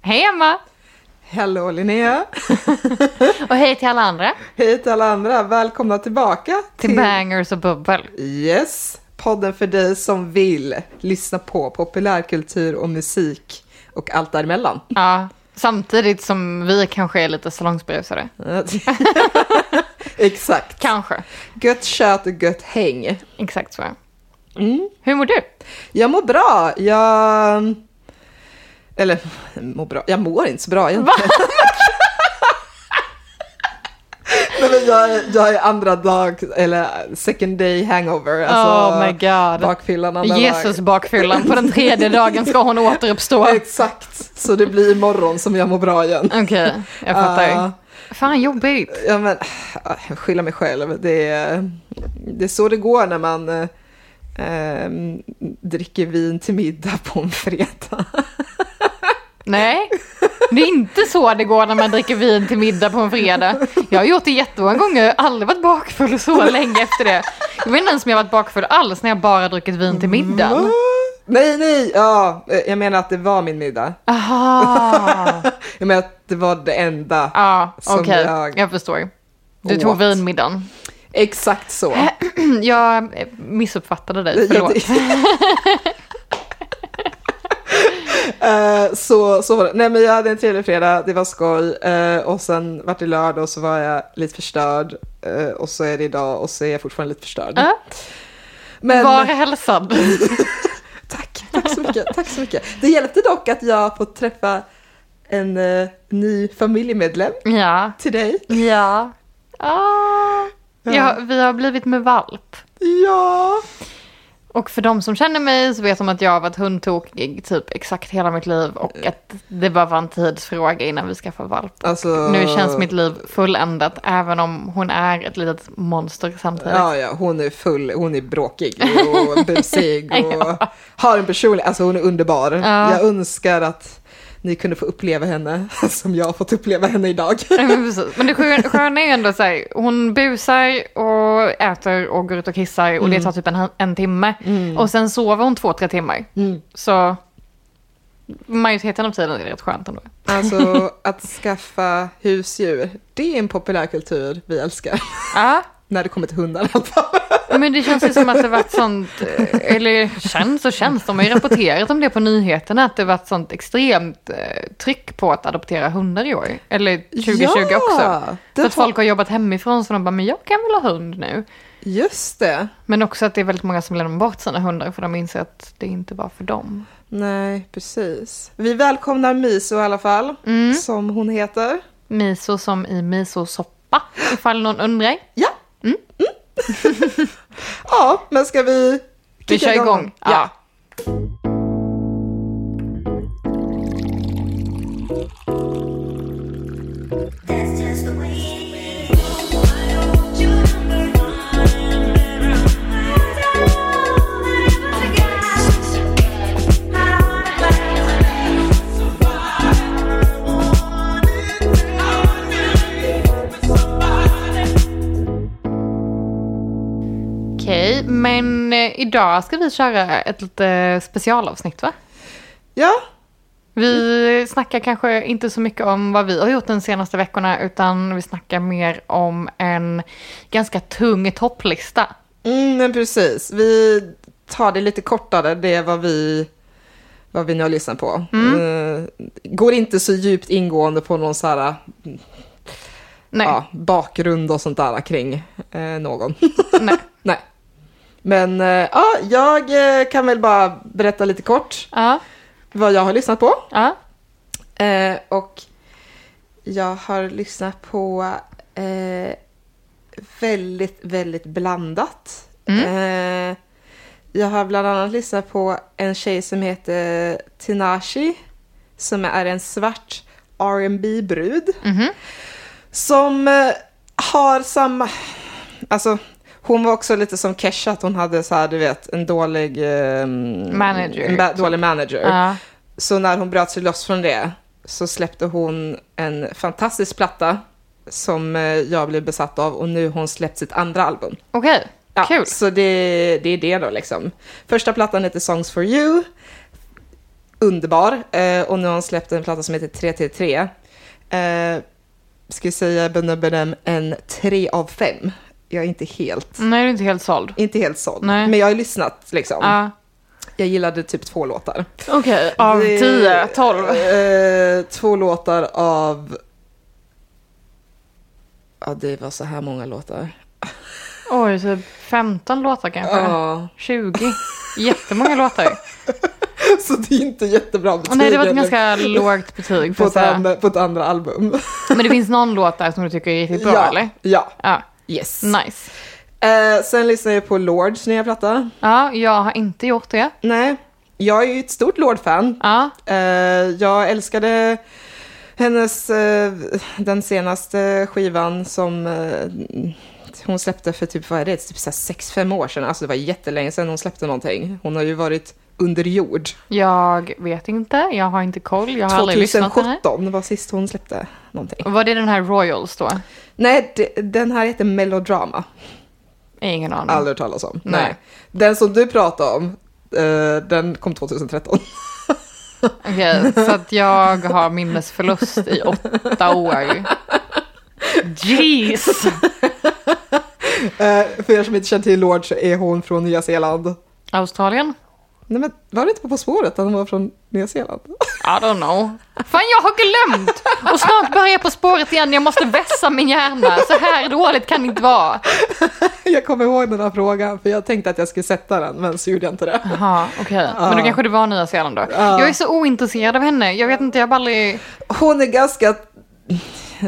Hej Emma! Hallå Linnea! Och hej till alla andra! Hej till alla andra! Välkomna tillbaka Till Bangers och Bubbel. Yes! Podden för dig som vill lyssna på populärkultur och musik och allt däremellan. Ja, samtidigt som vi kanske är lite salongsberusade. Exakt. Kanske. Gött tjat och gött häng. Exakt så. Mm. Hur mår du? Jag mår bra. Jag... Eller, mår bra. Jag mår inte så bra egentligen. Nej, men jag, är- jag är andra dag, eller second day hangover. Alltså, oh my god. Bakfyllan andra Jesus dag. bakfyllan. På den tredje dagen ska hon återuppstå. Exakt. Så det blir imorgon som jag mår bra igen. Okej, jag fattar. Ah. Fan jobbigt. Ja, men, ah, jag skyller mig själv. Det är, det är så det går när man eh, ehm, dricker vin till middag på en fredag. Nej, det är inte så det går när man dricker vin till middag på en fredag. Jag har gjort det jättemånga gånger, jag har aldrig varit bakfull så länge efter det. Jag vet inte ens om jag har varit bakfull alls när jag bara druckit vin till middagen. Nej, nej, ja, eh, jag menar att det var min middag. Aha. Jag menar att det var det enda. Ja, Som okej, jag- jag förstår. Du tog åt. vinmiddagen. Exakt så. Jag missuppfattade dig, förlåt. Eh, så, så var det. Nej men jag hade en trevlig fredag, det var skoj. Eh, och sen vart det lördag och så var jag lite förstörd. Eh, och så är det idag och så är jag fortfarande lite förstörd. Ja. Men Var hälsad. tack, tack så mycket, tack så mycket. Det hjälpte dock att jag fått träffa en eh, ny familjemedlem Ja. till dig. Ja. Ah. ja. Vi har blivit med valp. Ja, Och för de som känner mig så vet de att jag har varit hundtokig typ exakt hela mitt liv och Eh. att det bara var en tidsfråga innan vi skaffade valp. alltså. Nu känns mitt liv fulländat även om hon är ett litet monster samtidigt. Ja, ja, hon är full, hon är bråkig och busig och har en personlighet, alltså hon är underbar. Ja. Jag önskar att ni kunde få uppleva henne som jag har fått uppleva henne idag. Nej, Men, precis. men det skö- sköna är ju ändå så här, hon busar och äter och går ut och kissar och det tar typ en, en timme. Och sen sover hon två, tre timmar. Mm. Så majoriteten av tiden är rätt skönt ändå. Alltså att skaffa husdjur, det är en populärkultur vi älskar. Ja, När det kommer till hundar i alla fall. men det känns ju som att det varit sånt, eh, eller känns och känns, de har ju rapporterat om det på nyheterna, att det varit sånt extremt eh, tryck på att adoptera hundar i år. Eller 2020 Ja, också. det Så att var- folk har jobbat hemifrån så de bara, men jag kan väl ha hund nu. Just det. Men också att det är väldigt många som lämnar bort sina hundar för de inser att det inte var för dem. Nej, precis. Vi välkomnar Miso i alla fall, Mm. som hon heter. Miso som i misosoppa, ifall någon undrar. Ja. Mm. ja, men ska vi Vi kicka kör igång. Ja. Ja. That's just the way it is. Why don't you understand? Okej, men eh, idag ska vi köra ett lite specialavsnitt va? ja, Vi snackar kanske inte så mycket om vad vi har gjort de senaste veckorna utan vi snackar mer om en ganska tung topplista. Mm, men precis. Vi tar det lite kortare, det är vad vi, vad vi nu har lyssnat på. Eh, går inte så djupt ingående på någon så här, Nej, ja, bakgrund och sånt där kring eh, någon. nej. Nej. Men eh, ja, jag eh, kan väl bara berätta lite kort Ja, vad jag har lyssnat på. ja. Eh, och jag har lyssnat på eh, väldigt, väldigt blandat. Mm. Eh, jag har bland annat lyssnat på en tjej som heter Tinashi som är en svart R&B brud Mhm. Som eh, har samma... Alltså, hon var också lite som Kesha, att hon hade så här, du vet, en dålig... eh, Manager. typ. En ba- dålig manager. ja. Så när hon bröt sig loss från det så släppte hon en fantastisk platta som eh, jag blev besatt av och nu har hon släppt sitt andra album. Okej, kul. Så det, det är det då liksom. Första plattan heter Songs for you. underbar. Eh, och nu har hon släppt en platta som heter 333. Eh, ska jag säga Benum Benum en 3 av 5. Jag är inte helt, Nej, du är inte helt såld. inte helt såld. Mm. Nej. Men jag har ju lyssnat liksom. Ja. Jag gillade typ två låtar. Okej, av Det- 10, 12. Eh, två låtar av... Ja, det var så här många låtar. Oj, så 15 låtar kanske? Ja. 20? Jättemånga låtar. Så det är inte jättebra betyg. Och nej, det var ett eller- ganska lågt betyg. på Får jag ett, säga. andra, på ett andra album. Men det finns någon låt där som du tycker är riktigt bra, ja, eller? ja. Ja, Yes. nice. Eh, sen lyssnar jag på Lords nya platta. Ja, jag har inte gjort det. Nej, jag är ju ett stort Lord-fan. Ja, Eh, jag älskade hennes, eh, den senaste skivan som eh, hon släppte för typ, vad är det, typ 6-5 år sedan. Alltså det var jättelänge sedan hon släppte någonting. Hon har ju varit under jord. jag vet inte. Jag har inte koll. Jag har aldrig lyssnat på det här. 2017 var sist hon släppte någonting. Var det den här Royals då? Nej, det- den här heter Melodrama. Ingen aning. Aldrig hört talas om. Mm. Nej. Nej. Den som du pratade om, eh, den kom 2013. Okej, så att jag har minnesförlust i åtta år. Jeez! Eh, för er som inte känner till Lord så är hon från Nya Zeeland. Australien? Nej men var det inte på På spåret att hon var från Nya Zeeland? I don't know. Fan, jag har glömt! Och snart börjar jag På spåret igen. Jag måste vässa min hjärna. Så här dåligt kan det inte vara. jag kommer ihåg den här frågan för jag tänkte att jag skulle sätta den men så gjorde jag inte det. Jaha, okej. Men då kanske det var Nya Zeeland då. Jag är så ointresserad av henne. Jag vet inte, jag har bara aldrig... Hon är ganska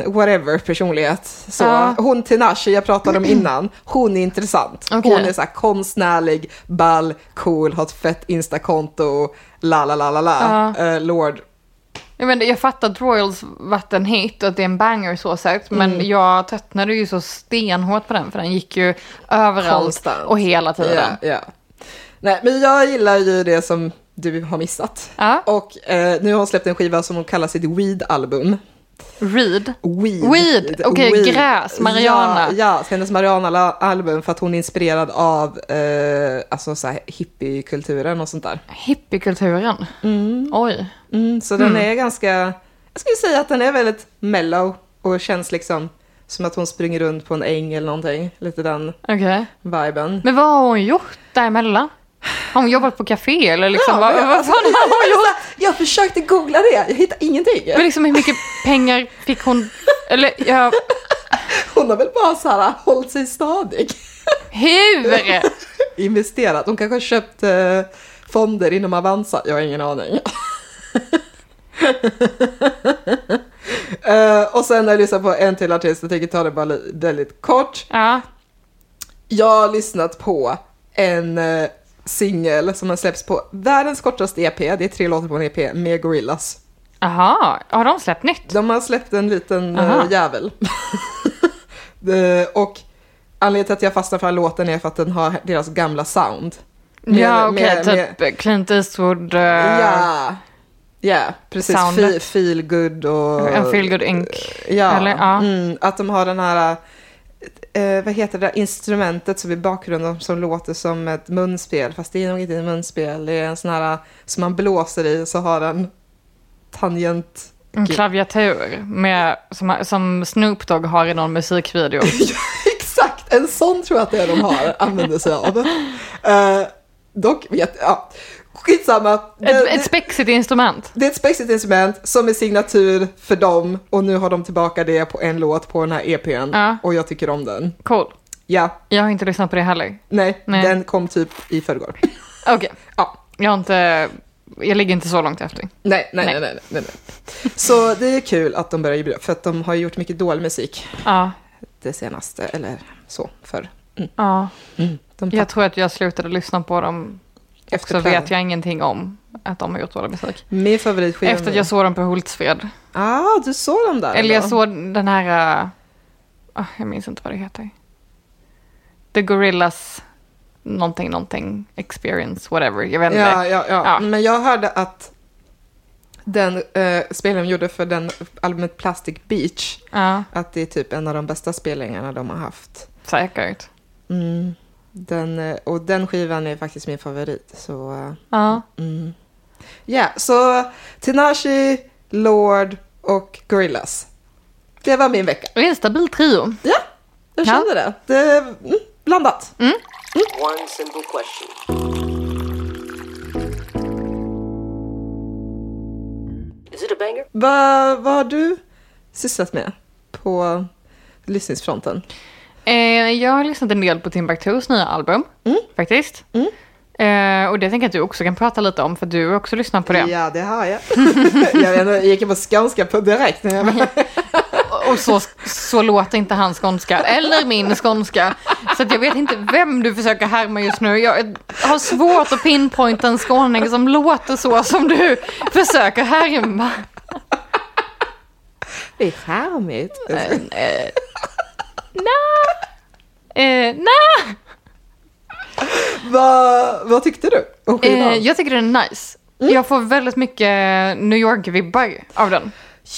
whatever personlighet. Så. Ja. Hon Tinashe jag pratade om innan, hon är intressant. Okej. Hon är så här konstnärlig, ball, cool, har ett fett instakonto, la la la la la. Eh, Lord Jag, menar, jag fattar att Royals varit en hit och att det är en banger så sett. Men jag tröttnade ju så stenhårt på den. För den gick ju överallt Konstant. och hela tiden. Ja, ja. Nej, men jag gillar ju det som du har missat. Ja. Och eh, nu har hon släppt en skiva som hon kallar sitt Weed-album. Reed. Weed. Weed, okej, Weed. gräs, Mariana. Ja, ja hennes Mariana-album för att hon är inspirerad av eh, alltså så här hippiekulturen och sånt där. Hippiekulturen. Oj. Mm, så den är ganska, jag skulle säga att den är väldigt mellow och känns liksom som att hon springer runt på en äng eller någonting. Lite den Okej. viben. Men vad har hon gjort däremellan? Har hon jobbat på café eller liksom? vad, men- vad fan har hon gjort? Jag försökte googla det, jag hittade ingenting. Men liksom hur mycket pengar fick hon? Eller ja, Hon har väl bara så här hållit sig stadig. hur? Investerat. Hon kanske har köpt eh, fonder inom Avanza. Jag har ingen aning. Eh, och sen har jag lyssnat på en till artist. Jag tänker ta det bara li- väldigt kort. Ja, Jag har lyssnat på en eh, singel som har släppts på världens kortaste EP. Det är tre låtar på en EP med Gorillas. aha, har de släppt nytt? De har släppt en liten Aha. eh, jävel. Det- och anledningen till att jag fastnar för den här låten är för att den har deras gamla sound. Med- ja, okej, med- med- typ Clint Eastwood, uh, Ja, ja precis. Soundet. Fe, feel good och... en Feel Good Inc. Ja, Eller, ja. mm, att de har den här... eh, vad heter det där instrumentet som i bakgrunden som låter som ett munspel fast det är nog inte ett munspel. Det är en sån här eh, som man blåser i så har den tangent... En klaviatur med, som, som Snoop Dogg har i någon musikvideo. Exakt, en sån tror jag att det är de har, använder sig av. Eh, dock vet ja, skitsamma. Det, ett, ett det, spexigt instrument. det är ett spexigt instrument som är signatur för dem och nu har de tillbaka det på en låt på den här EPn Ja. och jag tycker om den. Cool. Ja, Jag har inte lyssnat på det heller. nej, Nej. den kom typ i förrgår. Okej, Ja, jag har inte... Jag ligger inte så långt efter. nej, nej, Nej. nej, nej, nej, nej. Så det är kul att de börjar ge bra- för att de har gjort mycket dålig musik Ja, det senaste, eller så, förr. ja. De Jag tror att jag slutade lyssna på dem tappar och så plan. vet jag ingenting om att de har gjort dålig musik. Min favoritskiva Efter att jag nu. såg dem på Hultsfred. Ah, du såg dem där? Eller jag då? såg den här... äh, ah, jag minns inte vad det heter. The Gorillas någonting, någonting, experience, whatever. Jag vet inte. Ja, ja, ja. Ja. Men jag hörde att den eh, spelningen de gjorde för den albumet Plastic Beach, Ja, att det är typ en av de bästa spelningarna de har haft. säkert. Mm. Den, eh, och den skivan är faktiskt min favorit, så eh, Ja. mm. Ja, så Tinashe, Lord och Gorillas. Det var min vecka. Det är en stabil trio. Ja, jag Ja. kände det. det mm, blandat. One simple question. Is it a banger? Vad vad har du sysslat med på lyssningsfronten? Eh, jag har lyssnat en del på Timbuktus nya album, Mm. faktiskt. Eh, och det tänker jag att du också kan prata lite om, för du har också lyssnat på det. Ja, det har jag. jag, vet, inte, jag gick in på Skanska på direkt. när jag var- Och så, så låter inte hans skånska, eller min skånska. Så att jag vet inte vem du försöker härma just nu. Jag har svårt att pinpointa en skåning som låter så som du försöker härma. Det är charmigt. Eh, nej. vad, vad tyckte du om Eh, skivan? jag tycker den är nice. Jag får väldigt mycket New York-vibbar av den.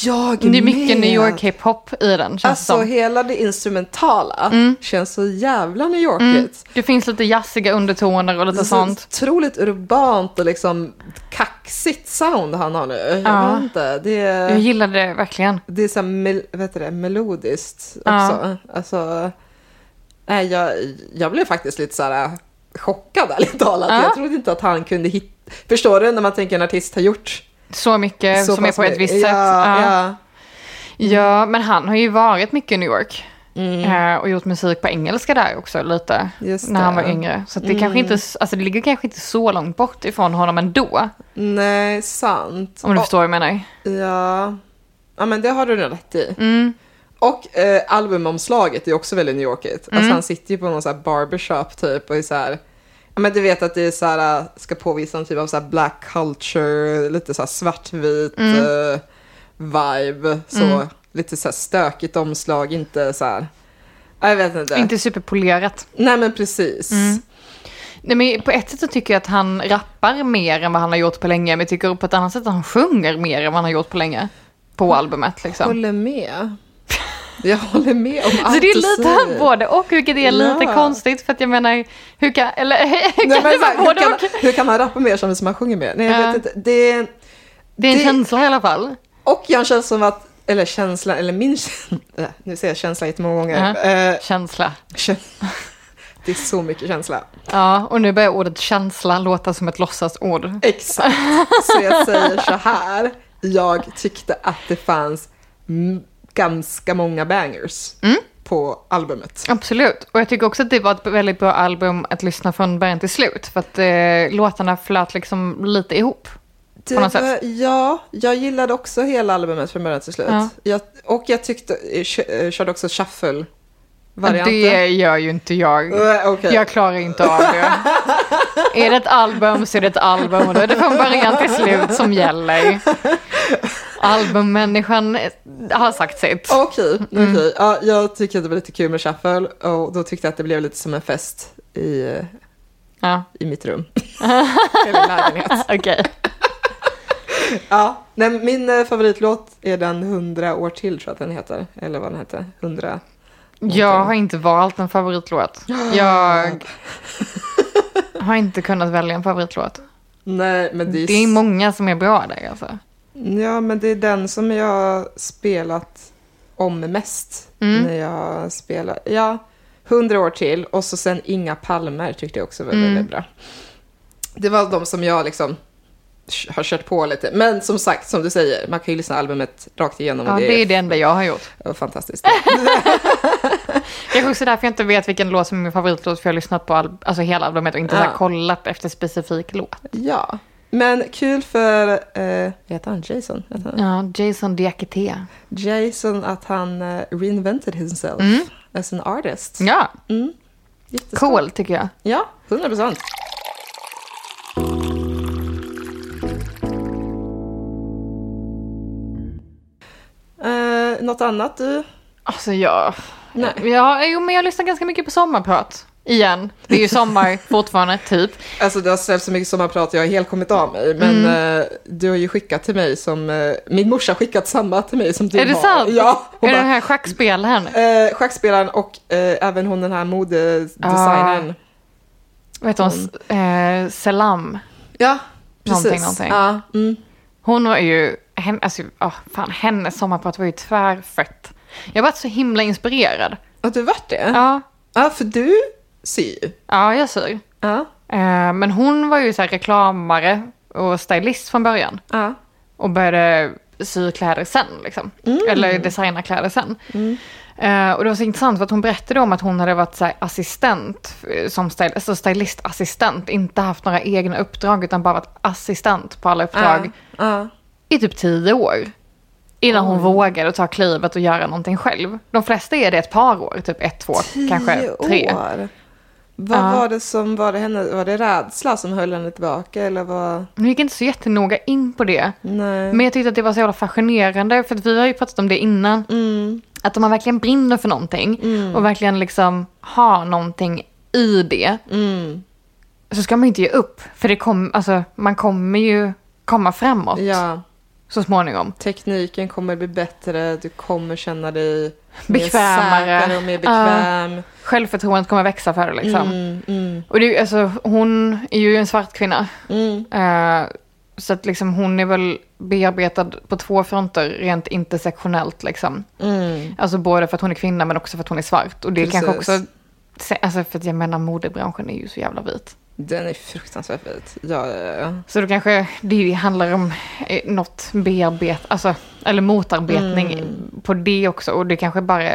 Jag Det är mycket med. New York-hiphop i den, känns Alltså det som. Mm. hela det instrumentala känns så jävla New Yorkigt. Det finns lite jazziga undertoner och lite Det är så sånt. otroligt urbant och liksom kaxigt sound han har nu. Jag Ja. vet inte. Det Jag är, gillade det verkligen. det är så här mel, vad heter det, melodiskt Ja. också. Alltså, nej, jag, jag blev faktiskt lite så här äh, chockad ärligt talat. Ja. Jag trodde inte att han kunde hitta... Förstår du när man tänker en artist har gjort Så mycket Eh, som är pass på ett mycket? visst ja, sätt. Ja. Ja. Mm. Ja, men han har ju varit mycket i New York. Eh, Och gjort musik på engelska där också lite. Mm. Just när det. Mm. han var yngre. Så att det, kanske inte, alltså det ligger kanske inte så långt bort ifrån honom ändå. Nej, sant. Om du Och- förstår vad jag menar. Ja. ja, men det har du nog rätt i. Mm. Och eh, albumomslaget är också väldigt New Yorkigt. Mm. Alltså han sitter ju på någon så här barbershop typ och är så här. Ja, men du vet att det är så här, ska påvisa någon typ av så här black culture, lite så här svartvit Mm. eh, vibe. Så lite så här stökigt omslag, inte så här. Ja, Jag vet inte. Inte Mm. superpolerat. Nej men precis. Nej, men på ett sätt så tycker jag att han rappar mer än vad han har gjort på länge. Men jag tycker på ett annat sätt att han sjunger mer än vad han har gjort på länge. På albumet liksom. Håller med. Jag håller med om allt Så det du är lite säger. både och, vilket är lite Ja. konstigt. För att jag menar, hur kan... Eller kan Nej, men, det exakt, vara hur, både kan, och? hur kan man rappa mer som som man sjunger mer? Nej, jag Ja. vet inte. Det, Det är en det- känsla i alla fall. och jag känns som att, eller känslan, eller min känsla, äh, nu säger jag känsla jättemånga gånger. Eh, Känsla. kän- det är så mycket känsla. Ja, och nu börjar ordet känsla låta som ett låtsasord. Exakt. Så jag säger så här, jag tyckte att det fanns m- ganska många bangers Mm. på albumet. Absolut, och jag tycker också att det var ett väldigt bra album att lyssna från början till slut. För att eh, låtarna flöt liksom lite ihop. Det något sätt. var- Ja, jag gillade också hela albumet från början till slut. Ja. Jag, och jag tyckte, eh, kö- eh, körde också shuffle-varianten. Det gör ju inte jag. Eh, okej. Jag klarar inte av det. är det ett album så är det ett album och då är det från början till slut som gäller. Albummänniskan har sagt sitt. Okej, okej. Ja, jag tycker att det var lite kul med shuffle och då tyckte jag att det blev lite som en fest i, Ja, i mitt rum. Eller lägenhet. okej. Ja, nej, min eh, favoritlåt är den 100 år till tror jag att den heter. Eller vad den heter. 100. Jag har inte valt en favoritlåt. Jag har inte kunnat välja en favoritlåt. Nej, men det är, Det är många som är bra där alltså. Ja, men det är den som jag spelat om mest Mm. när jag spelar. Ja, 100 år till och så sen Inga palmer tyckte jag också var Mm. väldigt bra. Det var de som jag liksom har kört på lite. Men som sagt, som du säger, man kan ju lyssna albumet rakt igenom Ja, och det är det enda jag har gjort. är fantastiskt. Kanske också därför jag inte vet vilken låt som är min favoritlåt för jag har lyssnat på all, alltså hela albumet och inte så här Ja. kollat efter specifik låt. ja, men kul för, eh, vad heter han, Jason? Heter han? Ja, Jason Diakité. Jason att han eh, reinvented himself as an artist. Mm. Ja, Jätteskoj. cool tycker jag. Ja, 100 procent. Eh, något annat du? Alltså jag... Nej. Ja, jo, men jag lyssnar ganska mycket på sommarprat. Igen, det är ju sommar fortfarande, typ. Alltså det har ställts så mycket sommarprat jag har helt kommit av mig. Men Mm. eh, du har ju skickat till mig som, eh, min morsa har skickat samma till mig som du är det har. sant? Ja, Är hon det bara, den här schackspelaren? eh, schackspelaren och eh, även hon den här Ah. modedesignern. Vad heter hon? S- Eh, Selam. Ja, Någonting, någonting. Ja. Mm. Hon var ju, hen, alltså, ah, fan, hennes sommarprat var ju tvärfett. Jag var så himla inspirerad. Att du vart det? Ja, Ja, för du syr ju. ja jag ser. Ja. Eh, men hon var ju så här reklamare och stylist från början. Ja. Och började sy kläder sen liksom. Eller designa kläder sen. Eh, och det var så intressant för att hon berättade om att hon hade varit så här, assistent, eh, som styl- alltså stylistassistent, inte haft några egna uppdrag utan bara varit assistent på alla uppdrag Ja. ja. i typ tio år. Innan hon vågade ta klivet och göra någonting själv. De flesta är det ett par år, typ ett, två, kanske tre. år. Vad Ja. var det som var det henne? Var det rädsla som höll henne tillbaka eller vad? Nu gick jag inte så jättenoga in på det. Nej. Men jag tyckte att det var så jävla fascinerande, för att vi har ju pratat om det innan. Mm. Att om man verkligen brinner för någonting och verkligen liksom har någonting i det, Mm. så ska man ju inte ge upp. För det kom, alltså, man kommer ju komma framåt Ja, så småningom. tekniken kommer bli bättre. Du kommer känna dig Bekvämare. mer säker och mer bekväm. Självförtroendet kommer växa för det liksom. Mm, mm, Och det, är ju- alltså, hon är ju en svart kvinna. mm. Eh, så att liksom hon är väl bearbetad på två fronter rent intersektionellt liksom. Mm. Alltså både för att hon är kvinna men också för att hon är svart. Och det är Precis. kanske också, se- alltså för att jag menar modebranschen är ju så jävla vit. Den är fruktansvärt vit. Ja, ja, ja. Så då kanske det handlar om eh, något bearbet, alltså, eller motarbetning Mm. på det också. Och det kanske bara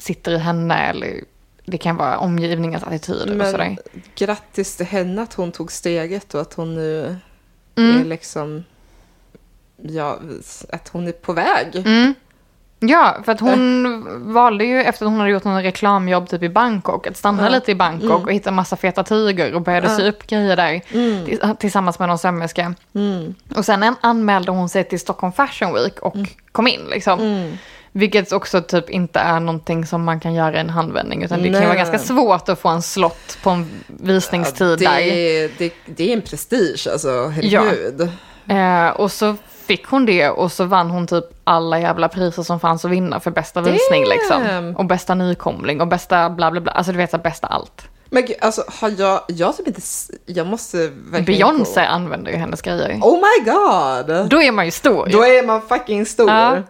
sitter i henne eller det kan vara omgivningens attityder och sådär. Men grattis till henne att hon tog steget och att hon nu Mm. är liksom... Ja, att hon är på väg. Mm. Ja, för att hon Mm. valde ju efter att hon hade gjort någon reklamjobb typ i Bangkok att stanna lite i Bangkok Mm. och hitta massa feta tyger och började sy upp grejer där Mm. tis- tillsammans med någon sömmerska. Och sen an- anmälde hon sig till Stockholm Fashion Week och Mm. kom in liksom. Vilket också typ inte är någonting som man kan göra i en handvändning utan det kan ju Nej, vara nej, ganska nej. svårt att få en slott på en visningstid det, där. är- det, det är en prestige, alltså. Herregud. Eh, och så fick hon det och så vann hon typ alla jävla priser som fanns att vinna för bästa visning liksom. Och bästa nykomling och bästa bla bla bla. Alltså du vet så här, bästa allt. Men gud, alltså, har jag... Jag har typ inte... s- Jag måste verkligen... gå- Beyoncé använder ju hennes grejer. Oh my god! Då är man ju stor. Då är man fucking stor. ja,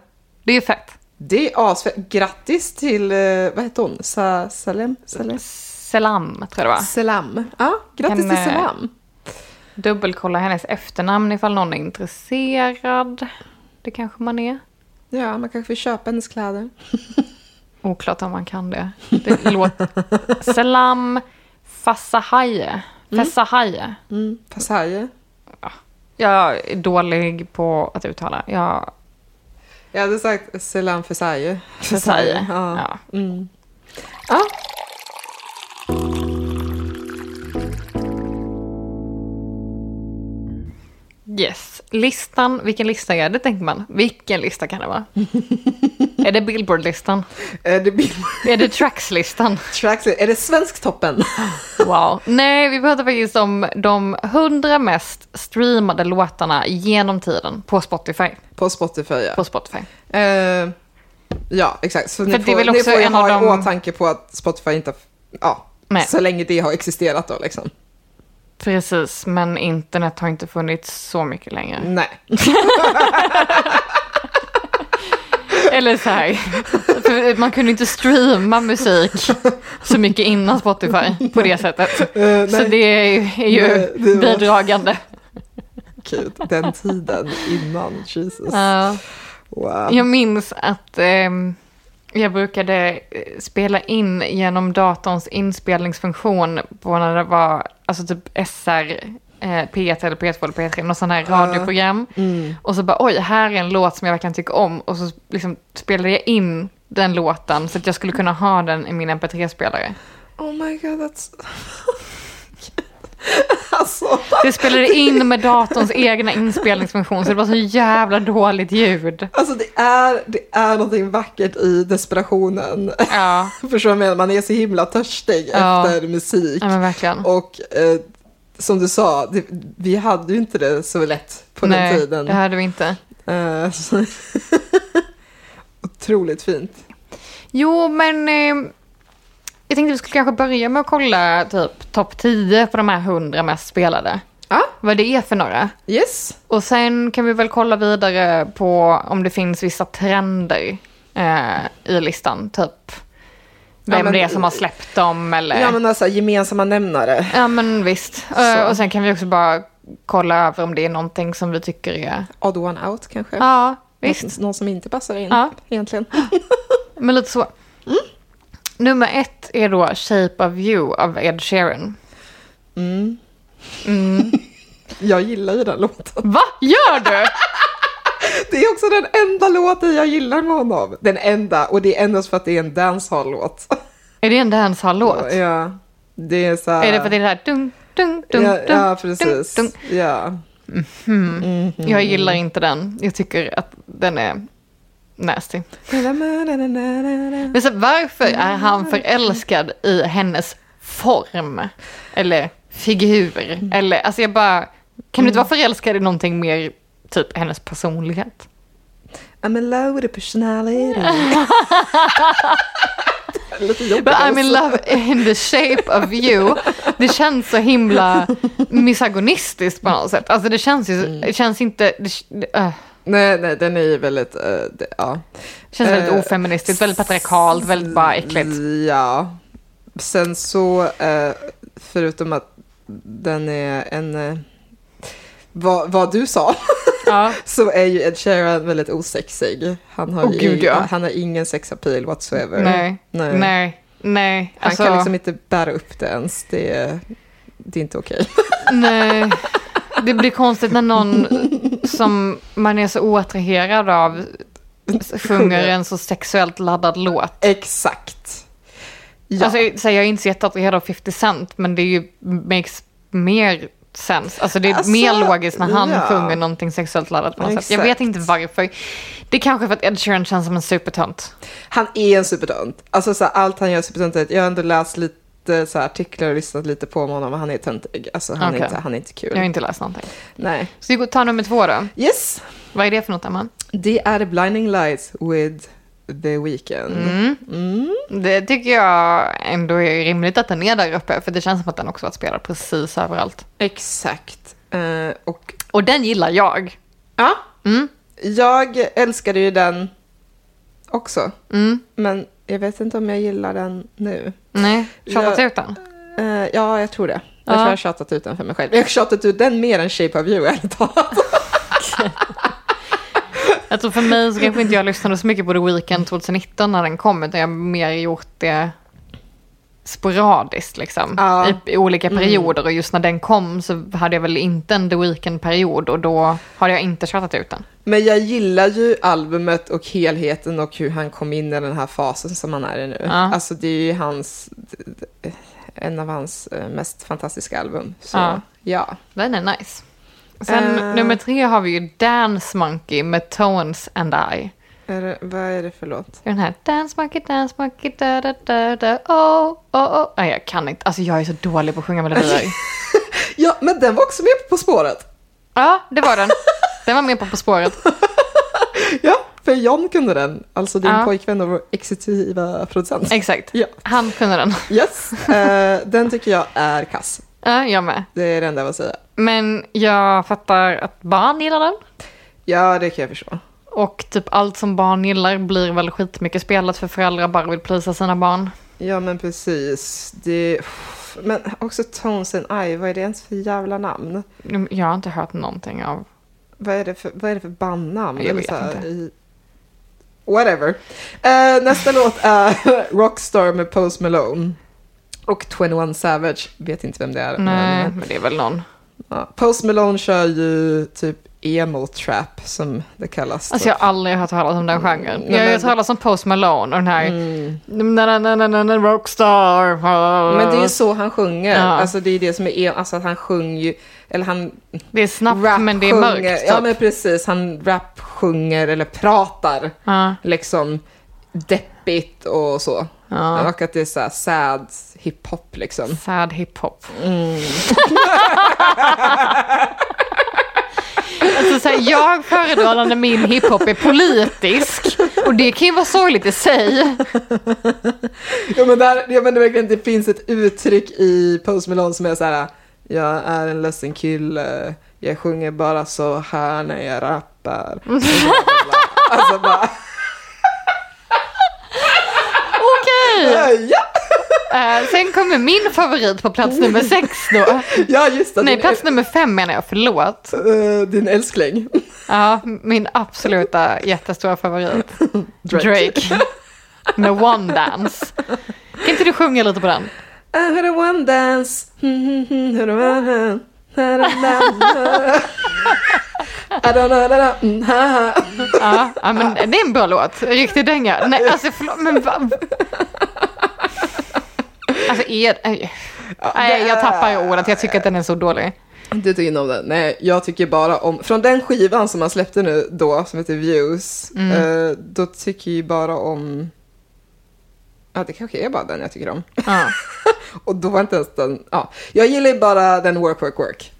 det är fett. Det är asfett. Grattis till... eh, Vad heter hon? Sa, Salem? Salem? Selam tror jag det var. Selam. Ja, grattis Kan, till eh, Selam. Dubbelkolla hennes efternamn ifall någon är intresserad. Det kanske man är. Ja, man kanske vill köpa hennes kläder. Oklart om man kan det. det låter... Selam Fassahaye. Fassahaye. Mm. Passaje. Jag är dålig på att uttala. Jag Jag hade sagt Selam Fesaye. säger. Ja. Mm. Ja. Ja. Yes. Listan, vilken lista är det tänker man? Vilken lista kan det vara? är det Billboard-listan? Är Eh, det Bill Är det Tracks-listan? Tracks? Är det Svensktoppen? Wow. Nej, vi pratar faktiskt om de hundra mest streamade låtarna genom tiden på Spotify. På Spotify, ja. På Spotify. Eh, ja, exakt. Så ni För det är får, väl ni också får ju en ha av i de- åtanke på att Spotify inte... Ja, Nej. så länge det har existerat då liksom. Precis, men internet har inte funnits så mycket längre. Nej. Eller så här, för man kunde inte streama musik så mycket innan Spotify på det sättet. Eh, Så nej. det är ju, är ju Nej, det var- bidragande. Gud, den tiden innan, Jesus. Ja. Wow. jag minns att ehm, jag brukade eh, spela in genom datorns inspelningsfunktion på när det var alltså typ SR, eh, P1 eller P2 eller P3, något sån här radioprogram. Mm. Och så bara oj, här är en låt som jag verkligen tycker om. Och så liksom spelade jag in den låten så att jag skulle kunna ha den i min mp3-spelare. Oh my god, that's... alltså, Det spelade in med datorns egna inspelningsfunktion så det var så jävla dåligt ljud. alltså det, är, det är någonting vackert i desperationen. Ja, Förstår du vad jag menar? Man är så himla törstig Ja. efter musik. ja men verkligen. Och eh, som du sa, det, vi hade ju inte det så lätt på Nej, den tiden. det hade vi inte. Eh, så- Otroligt fint. Jo, men eh, jag tänkte vi skulle kanske börja med att kolla typ topp 10 på de här 100 mest spelade. Ja. vad det är för några. Yes. Och sen kan vi väl kolla vidare på om det finns vissa trender eh, i listan. Typ vem Ja, men- det är som har släppt dem eller... Ja men alltså gemensamma nämnare. Ja, men visst. Eh, Och sen kan vi också bara kolla över om det är någonting som vi tycker är... Odd one out kanske. Ja, visst. Någon, någon som inte passar in Ja. egentligen. Men lite så. Mm. Nummer ett är då Shape of You av Ed Sheeran. Jag gillar ju den låten. Va? Gör du? Det är också den enda låten jag gillar med honom. Den enda, och det är endast för att det är en dancehall-låt. är det en dancehall-låt? Ja, det är så här... Är det för att det är det här dung, dung, dung, ja, dung, ja, precis. Mm-hmm. Dung, Ja. dung. Jag gillar inte den. Jag tycker att den är nasty. Men så, varför är han förälskad i hennes form? Eller figur? Mm. Eller, alltså jag bara... Kan du inte vara förälskad i någonting mer, typ hennes personlighet? I'm in love with a personality. Lite jobbigt. But I'm in alltså. love in the shape of you. Det känns så himla misogynistiskt på något sätt. Alltså det känns ju, det känns inte, det, det, äh, Nej, nej, den är ju väldigt... eh, det, ja. det känns väldigt Eh, ofeministiskt, Typ väldigt patriarkalt, väldigt bara äckligt. Ja. Sen så, eh, förutom att den är en... eh, vad, vad du sa, Ja. så är ju Ed Sheeran väldigt osexig. Han har, Åh, ju- gud, ja. han har ingen sexappeal whatsoever. Nej, Nej. nej, nej. Han Alltså, kan liksom inte bära upp det ens. Det är, det är inte okej. liksom- nej. Det blir konstigt när någon som man är så oattraherad av sjunger en så sexuellt laddad låt. Exakt. Ja. Alltså, jag- så här, jag är inte så jätteattraherad av 50 Cent, men det är ju makes mer sense. Alltså det är Alltså, mer logiskt när han ja. sjunger någonting sexuellt laddat på något sätt. Jag Exakt. vet inte varför. Det är kanske för att Ed Sheeran känns som en supertönt. Han är en supertönt. Alltså så här, allt han gör är supertöntigt. Jag har ändå läst lite så här, artiklar och lyssnat lite på honom och han är töntig. Alltså han, Okej. är, inte, han är inte kul. Jag har inte läst någonting. Nej. Så vi går- tar nummer två då. Yes, Vad är det för något, Emma? det är Blinding Lights with The Weeknd. Mm. Mm. Det tycker jag ändå är rimligt att den är där uppe, för det känns som att den också varit spelad precis överallt. Exakt. Eh, och Och den gillar jag. ja, Mm. jag älskade ju den också. Mm. Men jag vet inte om jag gillar den nu. Nej, tjatat Jag- ut den. Eh, ja, jag tror det. Jag tror Ja. jag har tjatat ut den för mig själv. Jag har tjatat ut den mer än Shape of You, ärligt talat. Jag tror Alltså för mig så kanske inte jag lyssnade så mycket på The Weeknd 2019 när den kom, utan jag har mer gjort det sporadiskt liksom. Ja. Mm. I, I olika perioder och just när den kom så hade jag väl inte en The Weeknd-period och då hade jag inte tjatat ut den. Men jag gillar ju albumet och helheten och hur han kom in i den här fasen som han är i nu. Ja. Alltså det är ju hans, en av hans eh, mest fantastiska album. Så Ja. ja. Den är nice. Sen Eh. nummer tre har vi ju Dance Monkey med Tones and I. Är det, vad är det för låt? Den här Dance Monkey, Dance Monkey, da da da da oh, oh, oh. Nej, jag kan inte. Alltså jag är så dålig på att sjunga melodier. Ja, men den var också med på På spåret. ja, det var den. Den var med på På spåret. Ja, för John kunde den. Alltså din Ja. pojkvän och vår exekutiva producent. Exakt. Ja. Han kunde den. Yes, eh, den tycker jag är kass. Ja, jag med. Det är det enda jag vill säga. Men jag fattar att barn gillar den. Ja, det kan jag förstå. Och typ allt som barn gillar blir väl skitmycket spelat för föräldrar bara vill prisa sina barn. Ja, men precis. Det... Men också Tones and I, vad är det ens för jävla namn? Mm, Jag har inte hört någonting av... Vad är det för, vad är det för bandnamn? Jag Eller vet så här, inte. i- Whatever. Eh, nästa låt är Rockstar med Post Malone. Och 21 Savage, vet inte vem det är. Nej, men- men det är väl någon. ja. Post Malone kör ju typ emo trap som det kallas. typ. Alltså jag har aldrig hört talas om den genren. Mm. Nej, Jag har ju hört men- talas om Post Malone och den här... Na, na, na, na, na, na, rockstar. Mm. men det är ju så han sjunger. Ja. Alltså det är det som är, emo- alltså att han sjunger ju, eller han Det är snabbt rap men det är sjunger, mörkt. Typ. Ja men precis, han rap sjunger eller pratar Ja. liksom deppigt och så. Ja. Och att det är så här sad hiphop liksom. Sad hiphop. Mm. alltså, så här, jag föredrar när min hiphop är politisk och det kan ju vara sorgligt i sig. Ja men, där, ja, men det, verkligen, det finns ett uttryck i Post Malone som är så här Jag är en ledsen kille. Jag sjunger bara så här när jag rappar. Och bla, bla, bla. Alltså bara, Okej! ja, Eh, sen kommer min favorit på plats nummer sex då. ja just det. Nej, din- plats nummer fem menar jag, förlåt. eh, din älskling. Ja, min absoluta jättestora favorit. Drake. Drake. Med One Dance. Kan inte du sjunga lite på den? I heard a one dance. Mhm, mhm, heard a one hand. Da, da, da, da. I don't know, da, da, mm, ha, ha. Ja, ja men det är en bra låt. Riktig dänga. Nej, alltså förlåt, men vad? Alltså är... nej, Nej, jag tappar ju ordet. Jag tycker att den är så dålig. Du tycker inte om den? Nej, jag tycker bara om... Från den skivan som han släppte nu då, som heter Views, Mm. eh, då tycker jag bara om... Ja, det kanske är bara den jag tycker om. Ja. Och då var inte ens den... Ja. Jag gillar ju bara den Work, Work, Work.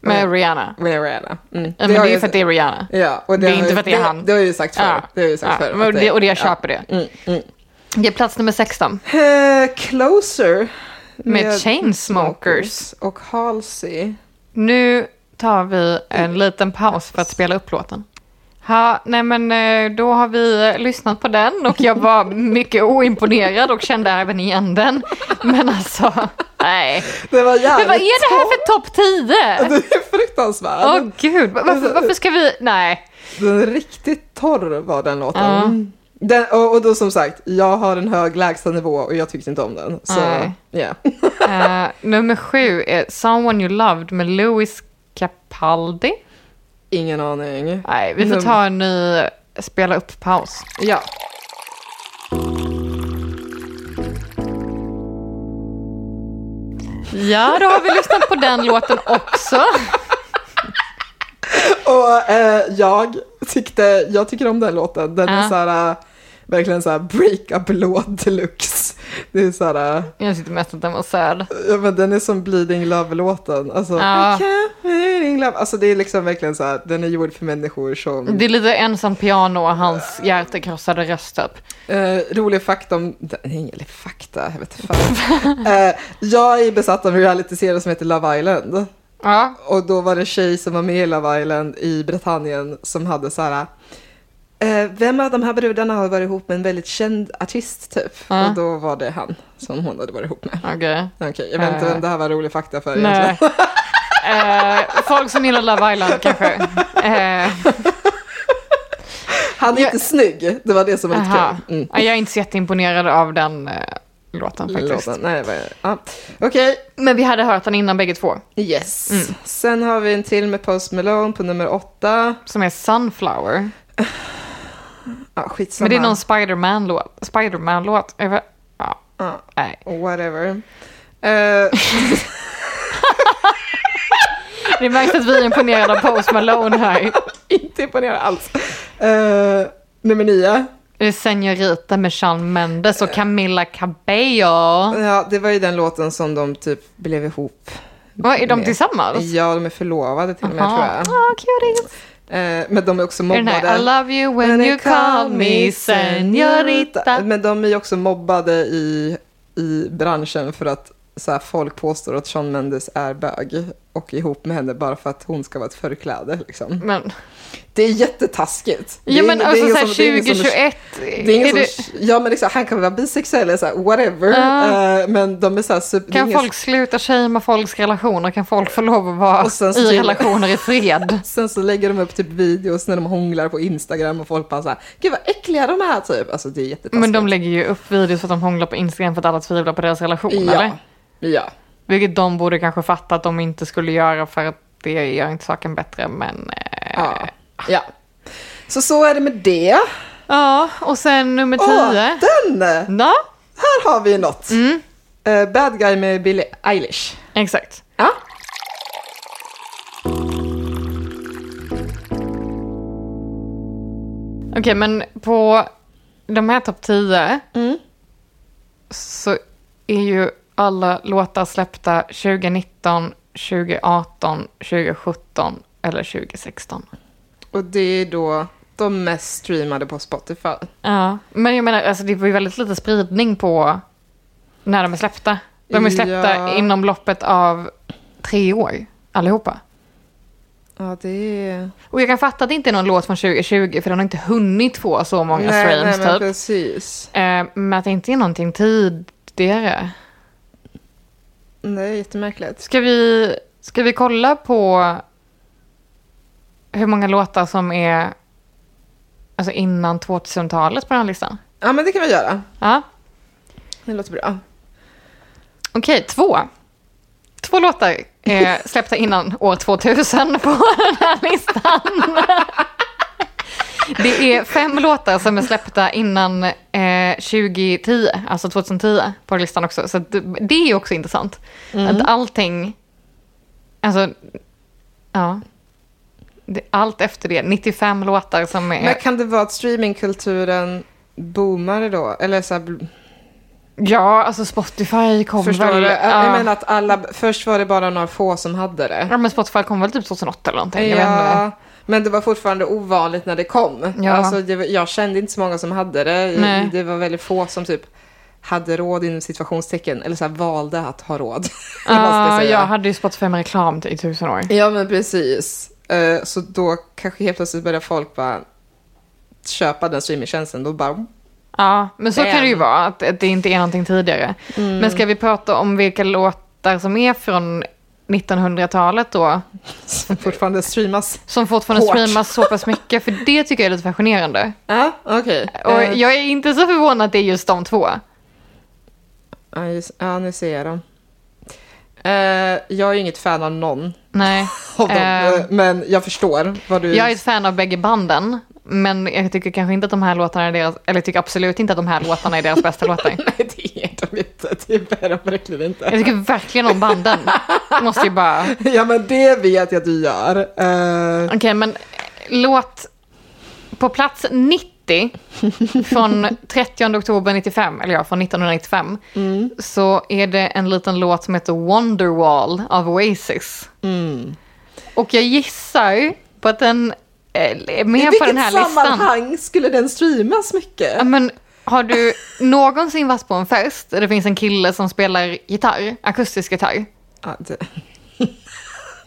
Med Rihanna. Med Rihanna. Mm. Ja, men har det är ju jag- för att det är Rihanna. Ja, och Det är har inte jag- för att det är han. Det har jag ju sagt förr. Ja. Det har jag ju sagt Ja, förr. men att det, och det, jag ja. Mm, köper det. Det är plats nummer 16. Eh, Closer. Med Chainsmokers. Och Halsey. Nu tar vi en liten paus för att spela upp låten. Ha, nej men eh, då har vi eh, lyssnat på den och jag var mycket oimponerad och kände även igen den. Men alltså, nej. Det var jävligt Men vad är det här för topp 10? Den är fruktansvärd. Åh gud, varför, varför ska vi... Nej. Den är riktigt torr var den låten. Ja. Den, och, och då som sagt, jag har en hög lägstanivå och jag tyckte inte om den. Så ja. Nej. Eh, nummer sju är Someone You Loved med Louis Capaldi. ingen aning. Nej, vi får Num- ta en ny eh, spela upp-paus. Ja. Ja, då har vi lyssnat på den låten också. Och eh, jag tyckte, jag tycker om den låten. Den är Ja. så här, eh, verkligen så här break-up-låt deluxe. Det är så här, eh, Jag tyckte mest att den var söd. ja men den är som Bleeding Love-låten. Alltså, Ja. I can't bleeding love. Alltså det är liksom verkligen så här, den är gjord för människor som Det är lite ensam piano och hans hjärtekrossade röst typ. upp. Eh, rolig fakta om... Nej, eller fakta, jag vet inte fan. Eh, jag är besatt av en realityserie som heter Love Island. Ja, Och då var det en tjej som var med i Love Island i Britannien som hade så här... eh, vem av de här brudarna har varit ihop med en väldigt känd artist typ? Ja. Och då var det han som hon hade varit ihop med. okej. Okej, jag vet inte Eh. vem det här var rolig fakta för Nej. egentligen. Eh, folk som gillar Love Island kanske. Eh, Han är inte snygg, det var det som var lite Eh, aha. kul. Mm. Ja, Jag är inte så jätteimponerad av den eh, låten faktiskt. Låten. Nej, vad är det? Ja. Okej, Men vi hade hört den innan bägge två, yes. Mm. Sen har vi en till med Post Malone på nummer åtta. som är Sunflower. Ja, skitsamma. Men det är någon Spiderman-låt. Spiderman-låt. Jag vet- Ja, Ja, nej. whatever. Eh, Det märks att vi är imponerade av Post Malone här. inte imponerad alls. Eh, nummer nio. Det är Senorita med Shawn Mendes och Camilla Cabello. Ja, det var ju den låten som de typ blev ihop. Vad, är de med. tillsammans? Ja, de är förlovade till och med tror Aha. jag. Ah, cuties. Eh, men de är också Är mobbade. den här I love you when you call me senorita. Men de är ju också mobbade i, i branschen för att så här, folk påstår att Shawn Mendes är bög och ihop med henne bara för att hon ska vara ett förkläde. Liksom. Men, Det är jättetaskigt. Det ja är men ingen- det alltså är såhär ingen som- det är ingen som- 2021. Det är är ingen det- som, ja men liksom, han kan vara bisexuell eller så här, whatever. Ja. Eh, men de är så här super, det är Kan ingen- folk sluta shamea folks relationer? Kan folk få lov att vara Och sen så Alltså. i till- relationer i fred? Sen så lägger de upp typ videos när de hånglar på Instagram och folk bara så här, gud vad äckliga de är typ. Alltså det är jättetaskigt. Men de lägger ju upp videos för att de hånglar på Instagram för att alla tvivlar på deras relation, eller? Ja. Ja. Vilket de borde kanske fatta att de inte skulle göra för att det gör inte saken bättre, men... eh, ja. ja. Så så är det med det. Ja, och sen nummer Åh, tio. Mm. den! Ja, Här har vi något. Eh, bad guy med Billie Eilish. exakt. Ja. Okej, men på de här topp 10 Mm. så är ju alla låtar släppta 2019, 2018, 2017 eller 2016. Och det är då de mest streamade på Spotify. Ja, men jag menar, alltså det var ju väldigt lite spridning på när de är släppta. De är släppta Ja. inom loppet av tre år, allihopa. Ja, det är... Och jag kan fatta att det inte är någon låt från 2020, för den har inte hunnit få så många nej, nej, streams men typ. precis. Eh, men att det inte är någonting tidigare. Det är jättemärkligt. Ska vi, ska vi kolla på hur många låtar som är alltså innan 2000-talet på den här listan? Ja, men det kan vi göra. Ja. Det låter bra. Okej, två. Två låtar eh, släppta innan år 2000 på den här listan. Det är fem låtar som är släppta innan eh, 2010, alltså 2010 på listan också. Så att det är ju också intressant. Mm. Att allting, alltså, ja. Det, allt efter det, 95 låtar som är... Men kan det vara att streamingkulturen boomar då? Eller så här, bl- ja, alltså Spotify kom förstår väl... du? ja. Jag menar att alla, först var det bara några få som hade det. Ja, men Spotify kom väl typ 2008 eller någonting. Jag vet inte. Ja, men det var fortfarande ovanligt när det kom. Ja. Alltså, det, var- jag kände inte så många som hade det. Nej. Det var väldigt få som typ hade råd inom situationstecken. Eller så här, valde att ha råd. eller vad ska Ja, säga. Ah, jag hade ju Spotify med reklam i tusen år. Ja, men precis. Eh, Så då kanske helt plötsligt börjar folk bara köpa den streamingtjänsten. Då bara... Ja, men så kan Damn. Mm. det ju vara, att att det inte är någonting tidigare. Men ska vi prata om vilka låtar som är från 1900-talet då? Som fortfarande streamas. Som fortfarande Hårt. streamas så pass mycket, för det tycker jag är lite fascinerande. Ja, okej. Och Eh, jag är inte så förvånad att det är just de två. ja, just- ja, nu ser jag dem. Eh, jag är inget fan av någon Nej. av dem, Eh, eh, men jag förstår vad du... jag är ett fan av bägge banden, men jag tycker kanske inte att de här låtarna är deras, eller tycker absolut inte att de här låtarna är deras bästa låtar. Nej, det är de inte. Det är de verkligen Jag inte. tycker verkligen om banden. Måste ju bara... Ja, men det vet jag att du gör. Eh, Okej, men låt på plats 90 från 30 oktober 95, eller ja, från 1995, Mm. så är det en liten låt som heter Wonderwall av Oasis. Mm. Och jag gissar på att den eh, är I med på den vilket här listan. sammanhang skulle den streamas mycket? Ja, Men har du någonsin varit på en fest där det finns en kille som spelar gitarr, akustisk gitarr? Ja, det...